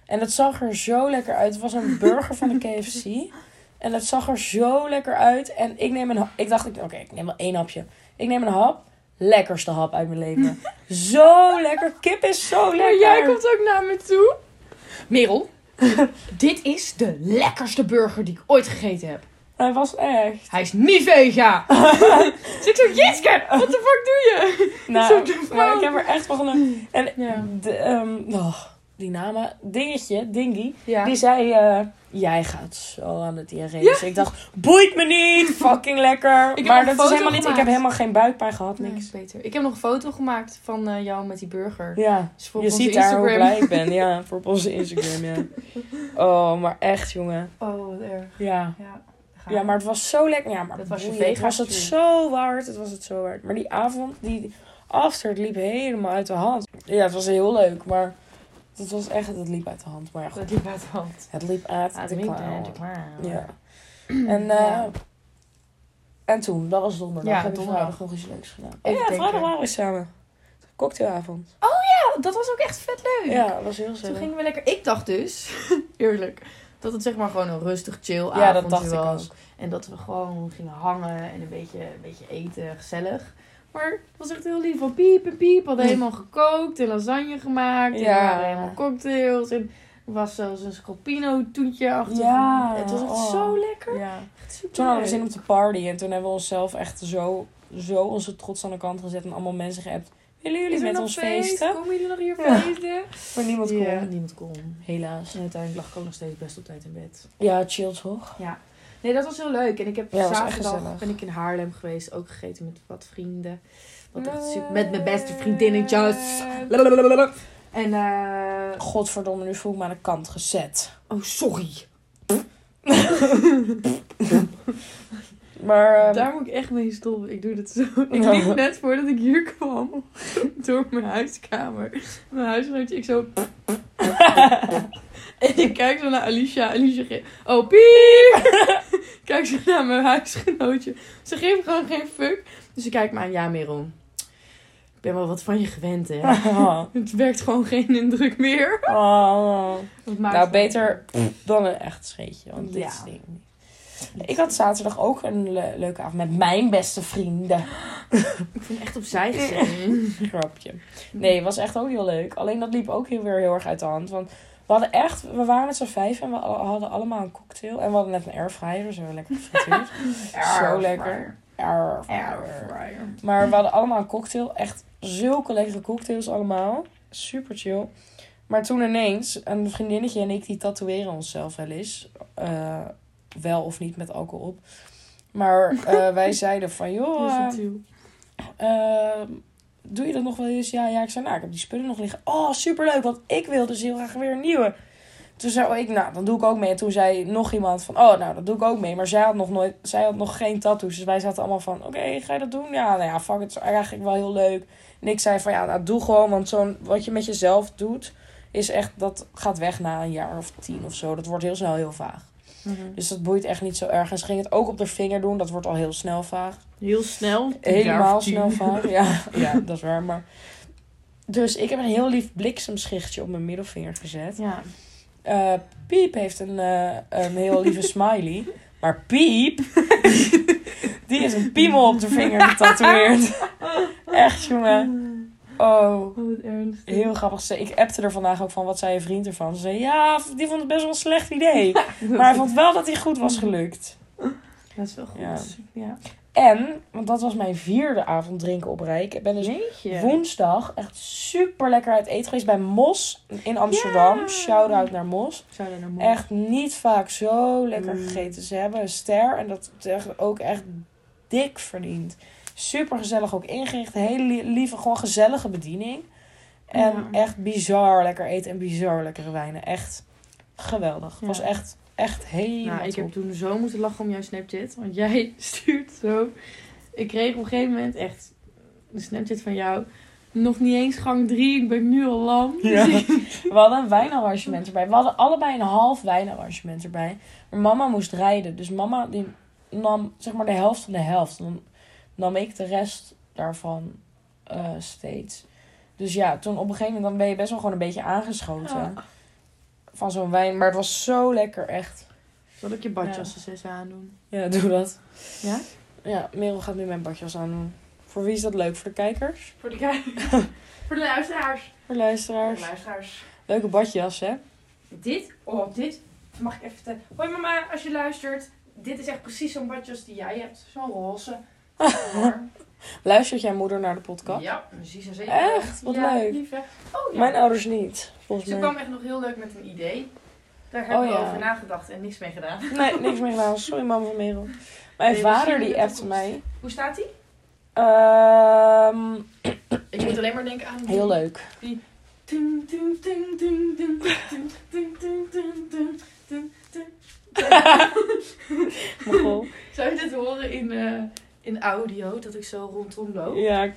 Speaker 1: En dat zag er zo lekker uit. Het was een burger van de KFC. En dat zag er zo lekker uit. En ik neem een hap. Ik dacht, oké, ik neem wel één hapje. Ik neem een hap. Lekkerste hap uit mijn leven. zo lekker. Kip is zo lekker.
Speaker 2: Oh, Maar jij komt ook naar me toe.
Speaker 3: Merel, dit is de lekkerste burger die ik ooit gegeten heb.
Speaker 1: Hij was echt.
Speaker 3: Hij is niet vega.
Speaker 2: Dus ik zo, Jitske, what the fuck doe je?
Speaker 1: Nou,
Speaker 2: Zo'n vrouw.
Speaker 1: maar ik heb er echt van genoten. En
Speaker 2: Ja.
Speaker 1: de, ehm, oh, die namen. Dingetje, Dingy.
Speaker 2: Ja.
Speaker 1: Die zei, eh, jij gaat zo aan de diarree. Dus ik dacht, boeit me niet, fucking lekker.
Speaker 2: heb
Speaker 1: maar
Speaker 2: een
Speaker 1: dat is
Speaker 2: foto
Speaker 1: helemaal niet, ik heb
Speaker 2: gemaakt.
Speaker 1: helemaal geen buikpijn gehad,
Speaker 2: Nee,
Speaker 1: niks.
Speaker 2: is beter. Ik heb nog een foto gemaakt van eh, jou met die burger.
Speaker 1: Ja,
Speaker 2: Is voor
Speaker 1: je
Speaker 2: op onze
Speaker 1: ziet daar hoe
Speaker 2: Instagram.
Speaker 1: blij ik ben, ja, voor op onze Instagram, ja. Oh, maar echt, jongen.
Speaker 2: Oh, wat erg.
Speaker 1: Ja.
Speaker 2: Ja, ga
Speaker 1: Ja, maar het was zo lekker. Ja, maar
Speaker 2: Dat was je
Speaker 1: boeien, het was het
Speaker 2: vega-streak.
Speaker 1: zo waard. Het was het zo waard. Maar die avond, die after, het liep helemaal uit de hand. Ja, het was heel leuk, maar het was echt, het liep uit de hand. Maar ja, goed.
Speaker 2: Dat liep uit de hand.
Speaker 1: Het liep uit de klauwen. Ja. En,
Speaker 2: Ja.
Speaker 1: eh, en toen, dat was donderdag.
Speaker 2: Ja,
Speaker 1: heb ik
Speaker 2: donderdag.
Speaker 1: vrijdag nog iets leuks gedaan. Oh
Speaker 2: Even
Speaker 1: ja,
Speaker 2: denken.
Speaker 1: vrijdag waren we samen. Cocktailavond.
Speaker 2: Ja, dat was ook echt vet leuk.
Speaker 1: Ja, dat was heel
Speaker 2: Toen
Speaker 1: gezellig.
Speaker 2: gingen we lekker... Ik dacht dus, eerlijk, dat het zeg maar gewoon een rustig chill avond
Speaker 1: Ja, dat dacht ik
Speaker 2: was.
Speaker 1: ook.
Speaker 2: En dat we gewoon gingen hangen en een beetje, een beetje eten, gezellig. Maar het was echt heel lief van piep en piep. We hadden helemaal gekookt en lasagne gemaakt. En
Speaker 1: Ja.
Speaker 2: we hadden helemaal cocktails. En er was zelfs een scalpino toetje achter.
Speaker 1: Ja,
Speaker 2: Het was echt
Speaker 1: oh.
Speaker 2: zo lekker.
Speaker 1: Ja.
Speaker 2: Echt super
Speaker 1: Toen hadden we zin om te partyen. En toen hebben we onszelf echt zo, zo onze trots aan de kant gezet. En allemaal mensen geappt. Willen jullie met ons feesten?
Speaker 2: Komen jullie nog hier
Speaker 1: Ja.
Speaker 2: feesten?
Speaker 1: Maar niemand kon.
Speaker 2: niemand kon.
Speaker 1: Helaas.
Speaker 2: En uiteindelijk lag ik ook nog steeds best op tijd in bed.
Speaker 1: Ja, chill toch?
Speaker 2: Nee, dat was heel leuk. En ik heb
Speaker 1: Ja, dat was echt
Speaker 2: zaterdag
Speaker 1: gezellig.
Speaker 2: ben ik in Haarlem geweest. Ook gegeten met wat vrienden. Wat echt
Speaker 1: Nee.
Speaker 2: super, met mijn beste vriendinnetjes. En eh...
Speaker 1: Godverdomme, nu voel ik me aan de kant gezet.
Speaker 2: Oh, sorry.
Speaker 1: Maar ehm,
Speaker 2: Daar moet ik echt mee stoppen. Ik doe dat zo. Ik
Speaker 1: Ja.
Speaker 2: liep net voordat ik hier kwam. Door mijn huiskamer. Mijn huisgenootje. Ik zo... en ik kijk zo naar Alicia. Alicia ge- Oh, piep! Ik kijk zo naar mijn huisgenootje. Ze geeft gewoon geen fuck. Dus ik kijk me aan. Ja, Merel. Ik ben wel wat van je gewend, hè.
Speaker 1: oh,
Speaker 2: Het werkt gewoon geen indruk meer.
Speaker 1: oh.
Speaker 2: Dat maakt
Speaker 1: Nou,
Speaker 2: wel-
Speaker 1: beter dan een echt scheetje. Want dit
Speaker 2: Ja.
Speaker 1: is ding niet. Ik had zaterdag ook een le- leuke avond met mijn beste vrienden.
Speaker 2: Ik vind het echt opzij gezet.
Speaker 1: Grapje. Nee, het was echt ook heel leuk. Alleen dat liep ook heel, weer heel erg uit de hand. Want we hadden echt, we waren met z'n vijf en we al- hadden allemaal een cocktail. En we hadden net een airfryer, dus we hebben lekker gefrituurd. Zo lekker. Airfryer. Maar we hadden allemaal een cocktail. Echt zulke lekkere cocktails allemaal. Super chill. Maar toen ineens, een vriendinnetje en ik die tatoeëren onszelf wel eens. eh, wel of niet met alcohol op. Maar eh, wij zeiden van, joh, eh, Ehm, doe je dat nog wel eens? Ja, ja. Ik zei, nou, ik heb die spullen nog liggen. Oh, superleuk, want ik wil dus heel graag weer een nieuwe. Toen zei ik, nou, dan doe ik ook mee. En toen zei nog iemand van, oh, nou, dat doe ik ook mee. Maar zij had nog, nooit, zij had nog geen tattoos. Dus wij zaten allemaal van, oké, ga je dat doen? Ja, nou ja, fuck, het is eigenlijk wel heel leuk. En ik zei van, ja, nou, doe gewoon. Want zo'n, wat je met jezelf doet, is echt, dat gaat weg na een jaar of tien of zo. Dat wordt heel snel heel vaag.
Speaker 2: eh, Mhm.
Speaker 1: Dus dat boeit echt niet zo erg. En ze ging het ook op de vinger doen. Dat wordt al heel snel vaag.
Speaker 2: Heel snel.
Speaker 1: Helemaal snel vaag. Ja, ja, dat is waar. Maar... Dus ik heb een heel lief bliksemschichtje op mijn middelvinger gezet.
Speaker 2: Ja.
Speaker 1: Eh, Piep heeft een, eh, een heel lieve smiley. Maar Piep, die is een piemel op de vinger getatoeëerd. Echt, jongen. Oh,
Speaker 2: Oh, wat ernstig.
Speaker 1: heel grappig. Ze- Ik appte er vandaag ook van, wat zei je vriend ervan? Ze zei, ja, die vond het best wel een slecht idee. Maar hij vond wel dat hij goed was gelukt.
Speaker 2: Dat is wel goed.
Speaker 1: Ja.
Speaker 2: Ja.
Speaker 1: En, want dat was mijn vierde avond drinken op Rijk. Ik ben dus
Speaker 2: Jeetje.
Speaker 1: woensdag echt super lekker uit eten geweest bij Mos in Amsterdam.
Speaker 2: Ja.
Speaker 1: Shout-out naar Mos.
Speaker 2: Zou daar naar mooi.
Speaker 1: Echt niet vaak zo lekker
Speaker 2: Mm.
Speaker 1: gegeten. Ze hebben een ster en dat is echt ook echt dik verdiend. Super gezellig ook ingericht. Hele li- lieve, gewoon gezellige bediening. En
Speaker 2: Ja.
Speaker 1: echt bizar lekker eten en bizar lekkere wijnen. Echt geweldig.
Speaker 2: Ja.
Speaker 1: Was echt, echt helemaal
Speaker 2: Nou, ik
Speaker 1: top.
Speaker 2: heb toen zo moeten lachen om jouw Snapchat. Want jij stuurt zo. Ik kreeg op een gegeven moment echt een Snapchat van jou. Nog niet eens gang 3, ik ben nu al lam.
Speaker 1: Ja. We hadden een wijnarrangement erbij. We hadden allebei een half wijnarrangement erbij. Maar mama moest rijden. Dus mama die nam zeg maar de helft van de helft. En Dan nam ik de rest daarvan eh, steeds. Dus ja, toen op een gegeven moment dan ben je best wel gewoon een beetje aangeschoten. Van zo'n wijn. Maar het was zo lekker, echt.
Speaker 2: Zal ik je badjassen zes aandoen?
Speaker 1: Ja, doe dat.
Speaker 2: Ja?
Speaker 1: Ja, Merel gaat nu mijn badjas aandoen. Voor wie is dat leuk? Voor de kijkers?
Speaker 3: Voor de kijkers. Voor de luisteraars.
Speaker 1: Voor de luisteraars?
Speaker 3: luisteraars.
Speaker 1: Leuke badjas, hè?
Speaker 3: Dit, oh, dit mag ik even vertellen. Hoi mama, als je luistert. Dit is echt precies zo'n badjas die jij hebt. Zo'n roze.
Speaker 1: Luistert jij moeder naar de podcast?
Speaker 3: ja, precies en zeker.
Speaker 1: Echt? Wat
Speaker 3: ja,
Speaker 1: leuk.
Speaker 3: Lief, hè? oh, ja.
Speaker 1: Mijn ouders niet, volgens
Speaker 3: Ze
Speaker 1: mij.
Speaker 3: kwam echt nog heel leuk met een idee. Daar
Speaker 1: Dus
Speaker 3: heb
Speaker 1: eh, Oh,
Speaker 3: ik
Speaker 1: ja.
Speaker 3: over nagedacht en niks mee gedaan.
Speaker 1: Nee, niks meer gedaan. Sorry, mama van Merel. Mijn
Speaker 3: Nee,
Speaker 1: vader
Speaker 3: misschien in
Speaker 1: die
Speaker 3: de
Speaker 1: appte
Speaker 3: toekomst.
Speaker 1: mij.
Speaker 3: Hoe staat die?
Speaker 1: Ehm,
Speaker 3: Ik moet alleen maar denken aan...
Speaker 1: heel leuk.
Speaker 3: Tum, tum, tum, tum, tum, tum, tum, tum, tum, tum, tum, tum.
Speaker 1: Mogol.
Speaker 3: Zou je dit horen in, eh, in audio, dat ik zo rondom loop?
Speaker 1: Ja, ik-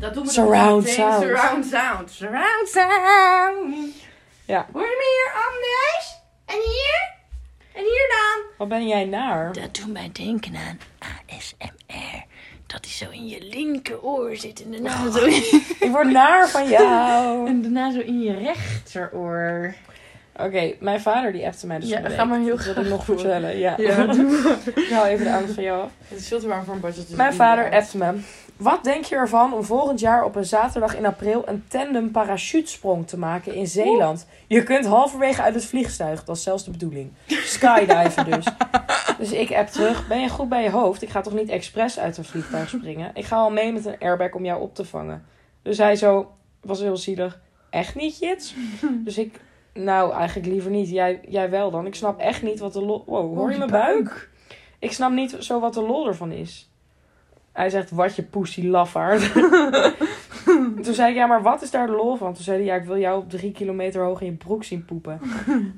Speaker 3: Dat doen we
Speaker 1: Surround
Speaker 3: dus meteen.
Speaker 1: sound.
Speaker 3: Surround sound. Surround sound.
Speaker 1: Ja.
Speaker 3: Hoor je me hier, Anders? En hier? En hier dan?
Speaker 1: wat ben jij naar?
Speaker 4: Dat doet mij denken aan ASMR. Dat die zo in je linkeroor zit en daarna zo in
Speaker 1: Ik word naar van jou.
Speaker 2: Oh. En daarna zo in je rechteroor.
Speaker 1: Oké, mijn vader die appte mij dus
Speaker 2: Ja,
Speaker 1: van de
Speaker 2: ga
Speaker 1: week.
Speaker 2: maar heel
Speaker 1: Dat wil ik
Speaker 2: graag
Speaker 1: nog
Speaker 2: door.
Speaker 1: vertellen. Ja. ik hou even de aandacht van jou af.
Speaker 2: Het is veel te warm voor een badjas. dus
Speaker 1: Mijn
Speaker 2: ik
Speaker 1: vader
Speaker 2: doe het.
Speaker 1: appte me. Wat denk je ervan om volgend jaar op een zaterdag in april een tandem parachutesprong te maken in Zeeland? Je kunt halverwege uit het vliegtuig, dat is zelfs de bedoeling. Skydiven dus. Dus ik app terug. Ben je goed bij je hoofd? Ik ga toch niet expres uit een vliegtuig springen? Ik ga al mee met een airbag om jou op te vangen. Dus hij zo, was heel zielig. Echt niet, Jits? Dus ik, nou eigenlijk liever niet. Jij, jij wel dan. Ik snap echt niet wat de lol... Wow, hoor Oh, je mijn buik? Ik snap niet zo wat de lol ervan is. Hij zegt, wat je poesie lafaard. Toen zei ik, ja, maar wat is daar de lol van? Toen zei hij, ja, ik wil jou op drie kilometer hoog in je broek zien poepen.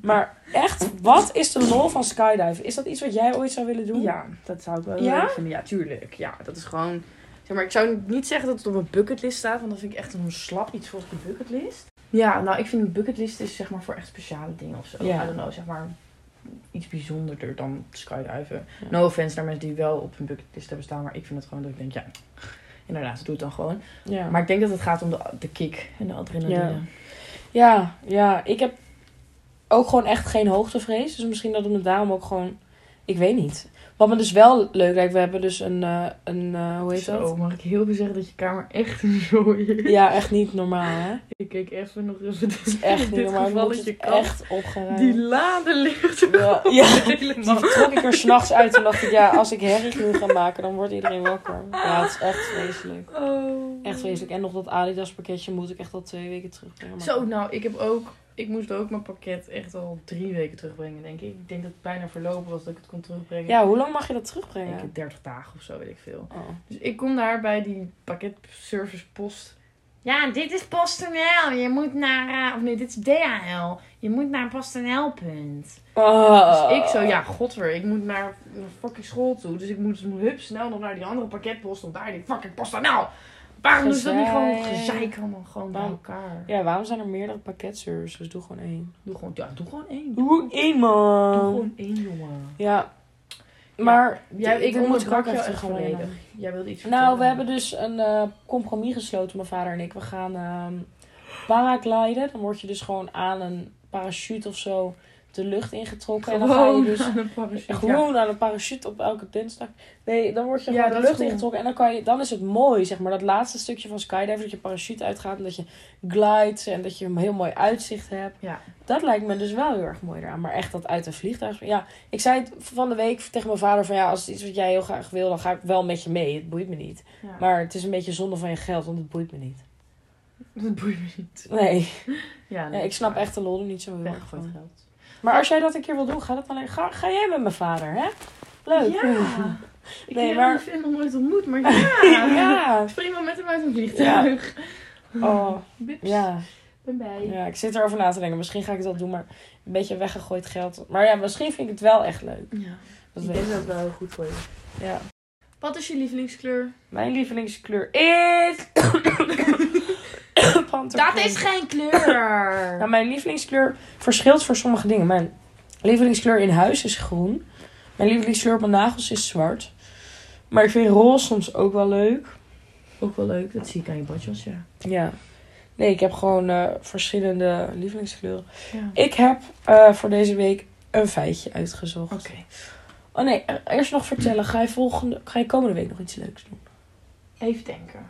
Speaker 1: Maar echt, wat is de lol van skydiven? Is dat iets wat jij ooit zou willen doen?
Speaker 2: Ja, dat zou ik wel
Speaker 1: Ja?
Speaker 2: leuk vinden. Ja, tuurlijk. Ja, dat is gewoon... Zeg maar, ik zou niet zeggen dat het op mijn bucketlist staat, want dat vind ik echt een slap iets volgens de bucketlist. Ja, nou, ik vind een bucketlist is zeg maar voor echt speciale dingen of zo.
Speaker 1: Ja.
Speaker 2: I don't know, zeg maar iets bijzonderder dan skydiven.
Speaker 1: Ja.
Speaker 2: No offense naar mensen die wel op hun bucketlist hebben staan, maar ik vind het gewoon dat ik denk, ja, inderdaad, doe het dan gewoon.
Speaker 1: Ja.
Speaker 2: Maar ik denk dat het gaat om de, de kick en de adrenaline.
Speaker 1: Ja. Ja, ja, ik heb ook gewoon echt geen hoogtevrees. Dus misschien dat het me daarom ook gewoon... Ik weet niet. Wat me dus wel leuk lijkt, we hebben dus een... eh, een eh, hoe heet
Speaker 2: Zo,
Speaker 1: dat?
Speaker 2: mag ik heel veel zeggen dat je kamer echt een zooi is?
Speaker 1: Ja, echt niet normaal, hè?
Speaker 2: Ik keek even nog even dit,
Speaker 1: Echt niet
Speaker 2: dit
Speaker 1: normaal. Ik moet
Speaker 2: gevalletje
Speaker 1: het
Speaker 2: kan.
Speaker 1: echt opgeruimd.
Speaker 2: Die lade ligt er
Speaker 1: Ja, ja.
Speaker 2: Oh,
Speaker 1: Die
Speaker 2: helemaal.
Speaker 1: trok ik er s'nachts uit en dacht ik, ja, als ik herrie genoeg ga maken, dan wordt iedereen wakker. Ja, het is echt vreselijk.
Speaker 2: Oh.
Speaker 1: Echt vreselijk. En nog dat Adidas pakketje moet ik echt al twee weken terugbrengen. maar-
Speaker 2: Zo, nou, ik heb ook
Speaker 3: Ik moest ook mijn pakket echt al drie weken terugbrengen, denk ik. Ik denk dat het bijna verlopen was dat ik het kon terugbrengen.
Speaker 1: Ja, hoe lang mag je dat
Speaker 3: Ik
Speaker 1: terugbrengen?
Speaker 3: denk 30 dagen of zo, weet ik veel.
Speaker 1: Oh.
Speaker 3: Dus ik kom daar bij die pakketservice post.
Speaker 5: Ja, dit is PostNL. Je moet naar... eh, of nee, dit is DHL. Je moet naar PostNL-punt.
Speaker 1: Oh.
Speaker 3: Dus ik zo, ja, godver, ik moet naar mijn fucking school toe. Dus ik moet hup snel nog naar die andere pakketpost. Want daar die fucking PostNL. Waarom doen ze dat niet gewoon
Speaker 1: Gezeik. Oh.
Speaker 3: gezeik allemaal gewoon bij
Speaker 1: Waarom-
Speaker 3: elkaar?
Speaker 1: Ja, waarom zijn er meerdere pakketservices? Doe gewoon één.
Speaker 3: Doe gewoon, ja, doe gewoon één. Doe
Speaker 1: Doe één, man.
Speaker 3: gewoon één, jongen.
Speaker 1: Ja. Maar
Speaker 3: Jij, ik
Speaker 1: dit
Speaker 3: onderbrak
Speaker 1: ik ook
Speaker 3: jou
Speaker 1: even
Speaker 3: echt
Speaker 1: verleden.
Speaker 3: volledig. Jij wilde iets
Speaker 1: Nou,
Speaker 3: vertellen.
Speaker 1: we hebben dus een eh, compromis gesloten, mijn vader en ik. We gaan ehm paragliden. Dan word je dus gewoon aan een parachute of zo de lucht ingetrokken. En dan ga je
Speaker 3: Gewoon
Speaker 1: dus
Speaker 3: aan een parachute, ja.
Speaker 1: gewoon aan een parachute op elke dinsdag. Nee, dan word je
Speaker 3: Ja,
Speaker 1: gewoon
Speaker 3: dat
Speaker 1: de
Speaker 3: is
Speaker 1: lucht
Speaker 3: cool.
Speaker 1: ingetrokken. En dan, kan je, dan is het mooi, zeg maar. Dat laatste stukje van skydiver, dat je parachute uitgaat. En dat je glides en dat je een heel mooi uitzicht hebt.
Speaker 3: Ja.
Speaker 1: Dat lijkt me dus wel heel erg mooi eraan. Maar echt dat uit een vliegtuig. Ja, ik zei het van de week tegen mijn vader van... Ja, als het iets wat jij heel graag wil, dan ga ik wel met je mee. Het boeit me niet.
Speaker 3: Ja.
Speaker 1: Maar het is een beetje zonde van je geld, want het boeit me niet.
Speaker 3: Dat boeit me niet.
Speaker 1: Nee,
Speaker 3: Ja,
Speaker 1: ja, ik snap echt de lol er niet zo heel erg
Speaker 3: weggegooid
Speaker 1: van.
Speaker 3: geld.
Speaker 1: Maar als jij dat een keer wil doen, ga dat alleen. Ga, ga jij met mijn vader, hè? Leuk.
Speaker 3: Ja! Ik
Speaker 1: Nee,
Speaker 3: heb
Speaker 1: maar-
Speaker 3: die fan nog nooit ontmoet, maar ja!
Speaker 1: Ja.
Speaker 3: Spring maar met hem uit een vliegtuig.
Speaker 1: Oh,
Speaker 3: Bips,
Speaker 1: ja.
Speaker 3: ben bij.
Speaker 1: ja. Ik zit erover na te denken. Misschien ga ik dat doen, maar een beetje weggegooid geld. Maar ja, misschien vind ik het wel echt leuk.
Speaker 3: Ja.
Speaker 1: Dat weet ik.
Speaker 3: dat wel heel goed voor je.
Speaker 1: Ja.
Speaker 3: Wat is je lievelingskleur?
Speaker 1: Mijn lievelingskleur is. Pantergroen.
Speaker 3: geen kleur!
Speaker 1: Nou, mijn lievelingskleur verschilt voor sommige dingen. Mijn lievelingskleur in huis is groen. Mijn lievelingskleur op mijn nagels is zwart. Maar ik vind roze soms ook wel leuk.
Speaker 3: Ook wel leuk, dat zie ik aan je badjas, ja.
Speaker 1: Ja. Nee, ik heb gewoon eh, verschillende lievelingskleuren.
Speaker 3: ja.
Speaker 1: Ik heb eh, voor deze week een feitje uitgezocht.
Speaker 3: Oké.
Speaker 1: Oh nee, e- eerst nog vertellen. Ga je, volgende, ga je komende week nog iets leuks doen?
Speaker 3: Even denken.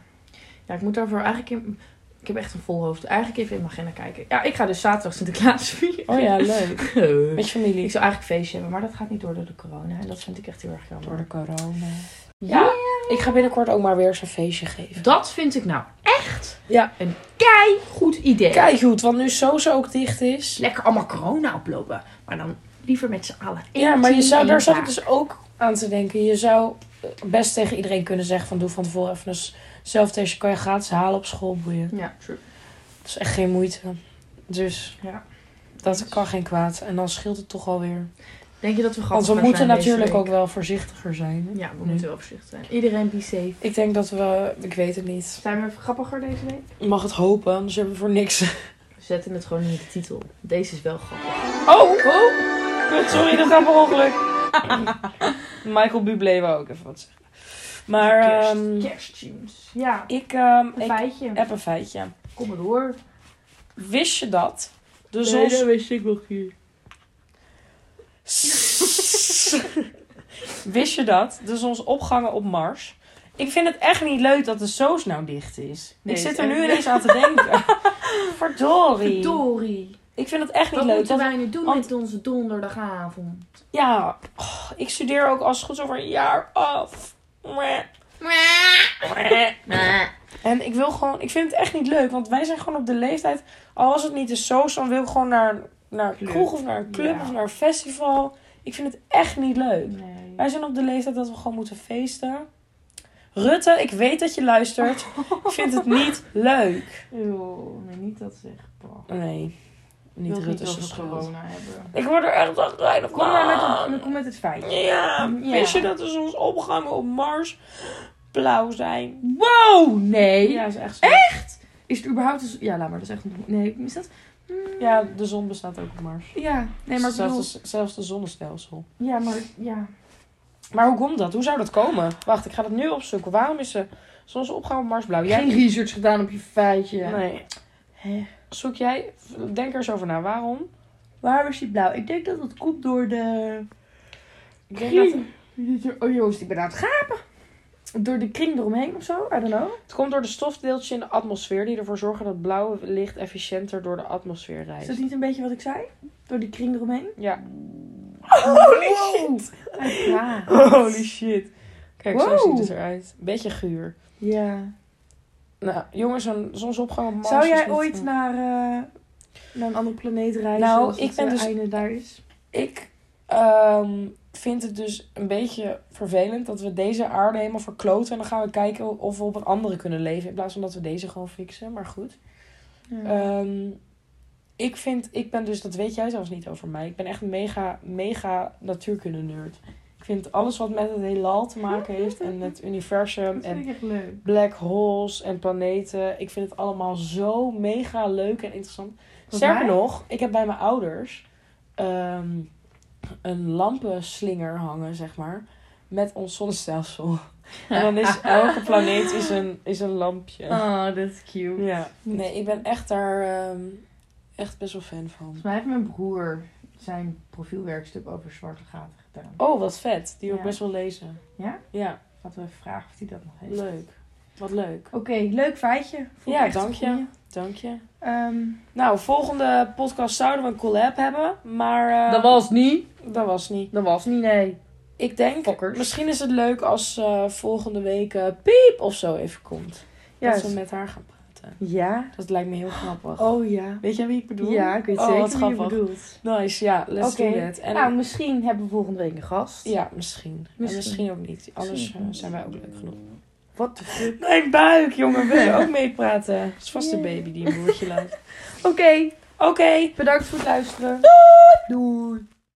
Speaker 3: Ja, ik moet daarvoor eigenlijk in... Ik heb echt een vol hoofd. Eigenlijk even in mijn agenda kijken. Ja, ik ga dus zaterdag Sinterklaas vieren.
Speaker 1: Oh ja, leuk. Met je
Speaker 3: Ik
Speaker 1: familie.
Speaker 3: zou eigenlijk feestje hebben, maar dat gaat niet door door de corona. En dat vind ik echt heel erg
Speaker 1: Door
Speaker 3: jammer.
Speaker 1: de corona.
Speaker 3: Ja,
Speaker 1: Ik ga binnenkort ook maar weer eens een feestje geven.
Speaker 3: dat vind ik nou echt
Speaker 1: Ja.
Speaker 3: een kei goed idee. Dus
Speaker 1: Kijk goed, want nu Sozo ook dicht is.
Speaker 3: Lekker allemaal corona oplopen, maar dan liever met z'n allen.
Speaker 1: Ja, maar je
Speaker 3: Eén
Speaker 1: zou,
Speaker 3: team,
Speaker 1: daar
Speaker 3: één
Speaker 1: zat ik
Speaker 3: taak.
Speaker 1: dus ook aan te denken. Je zou eh, best tegen iedereen kunnen zeggen van doe van tevoren even een zelftestje. Kan je gratis halen op school, boeien.
Speaker 3: Ja, true.
Speaker 1: Dat is echt geen moeite. Dus
Speaker 3: Ja.
Speaker 1: dat kan geen kwaad. En dan scheelt het toch alweer.
Speaker 3: Denk je dat we
Speaker 1: Want
Speaker 3: grappig
Speaker 1: we
Speaker 3: gaan
Speaker 1: moeten
Speaker 3: zijn deze
Speaker 1: natuurlijk
Speaker 3: week?
Speaker 1: ook wel voorzichtiger zijn. hè?
Speaker 3: Ja, we
Speaker 1: Nu.
Speaker 3: moeten wel voorzichtig zijn. Iedereen be safe.
Speaker 1: Ik denk dat we, ik weet het niet.
Speaker 3: Zijn we grappiger deze week?
Speaker 1: Ik mag het hopen, anders hebben we voor niks.
Speaker 3: We zetten het gewoon in de titel. Deze is wel grappig.
Speaker 1: Oh, oh. Kut, sorry, dat gaat per ongeluk. Michael Bublé wou ook even wat zeggen. Maar
Speaker 3: Kerst-
Speaker 1: ehm,
Speaker 3: Kersttunes. Ja,
Speaker 1: ik, ehm,
Speaker 3: een
Speaker 1: ik
Speaker 3: feitje.
Speaker 1: heb een feitje.
Speaker 3: Kom maar door.
Speaker 1: Wist je dat? De
Speaker 3: Dus
Speaker 1: zon.
Speaker 3: wist ik nog hier.
Speaker 1: Wist je dat? De zonsopgangen op Mars. Ik vind het echt niet leuk dat de soos nou dicht is.
Speaker 3: Nee,
Speaker 1: ik
Speaker 3: is
Speaker 1: zit er
Speaker 3: echt-
Speaker 1: nu ineens aan te denken. Verdorie.
Speaker 3: Dory.
Speaker 1: Ik vind het echt niet
Speaker 3: Wat
Speaker 1: leuk.
Speaker 3: moeten
Speaker 1: Dat...
Speaker 3: wij nu doen
Speaker 1: want-
Speaker 3: met onze donderdagavond?
Speaker 1: Ja, oh, ik studeer ook als het goed is over een jaar af. Mwah, mwah. En ik wil gewoon, ik vind het echt niet leuk, want wij zijn gewoon op de leeftijd. Al was het niet de soos, dan wil ik gewoon naar, naar een
Speaker 3: Club.
Speaker 1: kroeg of naar een club
Speaker 3: Ja.
Speaker 1: of naar een festival. Ik vind het echt niet leuk.
Speaker 3: Nee.
Speaker 1: Wij zijn op de leeftijd dat we gewoon moeten feesten. Rutte, ik weet dat je luistert. Ik vind het niet leuk.
Speaker 3: Eeuw, nee, niet dat zeg. Bah.
Speaker 1: Nee,
Speaker 3: Ik
Speaker 1: niet
Speaker 3: wil niet
Speaker 1: Rutte
Speaker 3: over
Speaker 1: is schuld.
Speaker 3: corona hebben.
Speaker 1: Ik word er echt aan rijden.
Speaker 3: Kom maar met, het- kom met het feitje.
Speaker 1: Ja,
Speaker 3: Ja.
Speaker 1: wist je dat de zonsopgangen op Mars blauw zijn?
Speaker 3: Wow, nee.
Speaker 1: Ja, is echt zo.
Speaker 3: Is het überhaupt een... z- Ja, laat maar, dat is echt een... Nee, is dat... Hmm.
Speaker 1: Ja, de zon bestaat ook op Mars.
Speaker 3: Ja, nee, maar ik
Speaker 1: zelfs,
Speaker 3: bedoel...
Speaker 1: de, zelfs de zonnestelsel.
Speaker 3: Ja, maar... Ja.
Speaker 1: Maar hoe komt dat? Hoe zou dat komen? Wacht, ik ga dat nu opzoeken. Waarom is de zonsopgang op Mars blauw?
Speaker 3: Jij
Speaker 1: Jij...
Speaker 3: hebt geen research gedaan op je feitje.
Speaker 1: Nee.
Speaker 3: Hè?
Speaker 1: Zoek jij, denk er eens over na. Waarom?
Speaker 3: Waarom is die blauw? Ik denk dat dat komt door de...
Speaker 1: Ik denk dat-
Speaker 3: Kring. Oh joost, ik ben aan het gapen. Door de kring eromheen of zo, I don't know.
Speaker 1: Het komt door de stofdeeltjes in de atmosfeer die ervoor zorgen dat blauwe licht efficiënter door de atmosfeer
Speaker 3: Is
Speaker 1: reist.
Speaker 3: dat niet een beetje wat ik zei? Door die kring eromheen?
Speaker 1: Ja.
Speaker 3: Holy shit! Ja.
Speaker 1: Holy shit. Kijk, zo
Speaker 3: Wow.
Speaker 1: ziet het eruit. Beetje guur.
Speaker 3: ja.
Speaker 1: Nou, jongens, een zonsopgang op Mars
Speaker 3: Zou
Speaker 1: is
Speaker 3: jij
Speaker 1: niet-
Speaker 3: ooit naar eh,
Speaker 2: naar een andere planeet reizen.
Speaker 1: Nou,
Speaker 2: als
Speaker 1: ik
Speaker 2: het
Speaker 1: ben
Speaker 2: eh,
Speaker 1: dus-
Speaker 2: einde daar is.
Speaker 1: Ik ehm, vind het dus een beetje vervelend dat we deze aarde helemaal verkloten. En dan gaan we kijken of we op een andere kunnen leven. In plaats van dat we deze gewoon fixen. Maar goed.
Speaker 2: Mm.
Speaker 1: Ehm, ik vind, ik ben dus, dat weet jij zelfs niet over mij. Ik ben echt een mega, mega natuurkunde nerd. Ik vind alles wat met het heelal te maken heeft. En het universum.
Speaker 2: dat
Speaker 1: En
Speaker 2: vind ik echt leuk.
Speaker 1: black holes en planeten. Ik vind het allemaal zo mega leuk en interessant. Sterker
Speaker 2: mij?
Speaker 1: nog, ik heb bij mijn ouders ehm, een lampenslinger hangen, zeg maar. Met ons zonnestelsel. En dan is elke planeet is een, is een lampje.
Speaker 4: Oh, dat is cute.
Speaker 1: Ja. Nee, ik ben echt daar ehm, echt best wel fan van.
Speaker 2: Volgens mij heeft mijn broer zijn profielwerkstuk over zwarte gaten gedaan.
Speaker 1: Oh, wat vet. Die wil ik
Speaker 2: Ja.
Speaker 1: best wel lezen.
Speaker 2: Ja?
Speaker 1: Ja,
Speaker 2: Laten we even vragen of hij dat nog heeft.
Speaker 1: leuk. Wat leuk.
Speaker 2: Oké, leuk feitje. Vond ik
Speaker 1: Ja,
Speaker 2: echt een
Speaker 1: dank je.
Speaker 2: goeie.
Speaker 1: Dank je.
Speaker 2: Ehm,
Speaker 1: Nou, volgende podcast zouden we een collab hebben. Maar eh,
Speaker 2: dat was niet.
Speaker 1: dat was niet.
Speaker 2: Dat was niet, nee.
Speaker 1: Ik denk,
Speaker 2: Fokkers.
Speaker 1: misschien is het leuk als eh, volgende week eh, Piep of zo even komt.
Speaker 2: Juist.
Speaker 1: Dat we met haar gaan praten.
Speaker 2: Ja.
Speaker 1: Dat lijkt me heel grappig.
Speaker 2: Oh ja.
Speaker 1: Weet jij wie ik bedoel?
Speaker 2: Ja, ik weet
Speaker 1: Oh,
Speaker 2: zeker
Speaker 1: wat
Speaker 2: wie je
Speaker 1: grappig.
Speaker 2: bedoelt.
Speaker 1: Nice, ja, let's
Speaker 2: Oké.
Speaker 1: do that. En,
Speaker 2: nou, misschien hebben we volgende week een gast.
Speaker 1: ja, misschien. En
Speaker 2: Misschien.
Speaker 1: misschien ook niet. Anders eh, zijn wij ook leuk genoeg.
Speaker 2: Wat de fuck.
Speaker 1: Mijn buik, jongen. Wil je ook meepraten? Het is vast de baby die een broertje laat.
Speaker 2: Oké,
Speaker 1: Oké.
Speaker 2: bedankt voor het luisteren. Doei.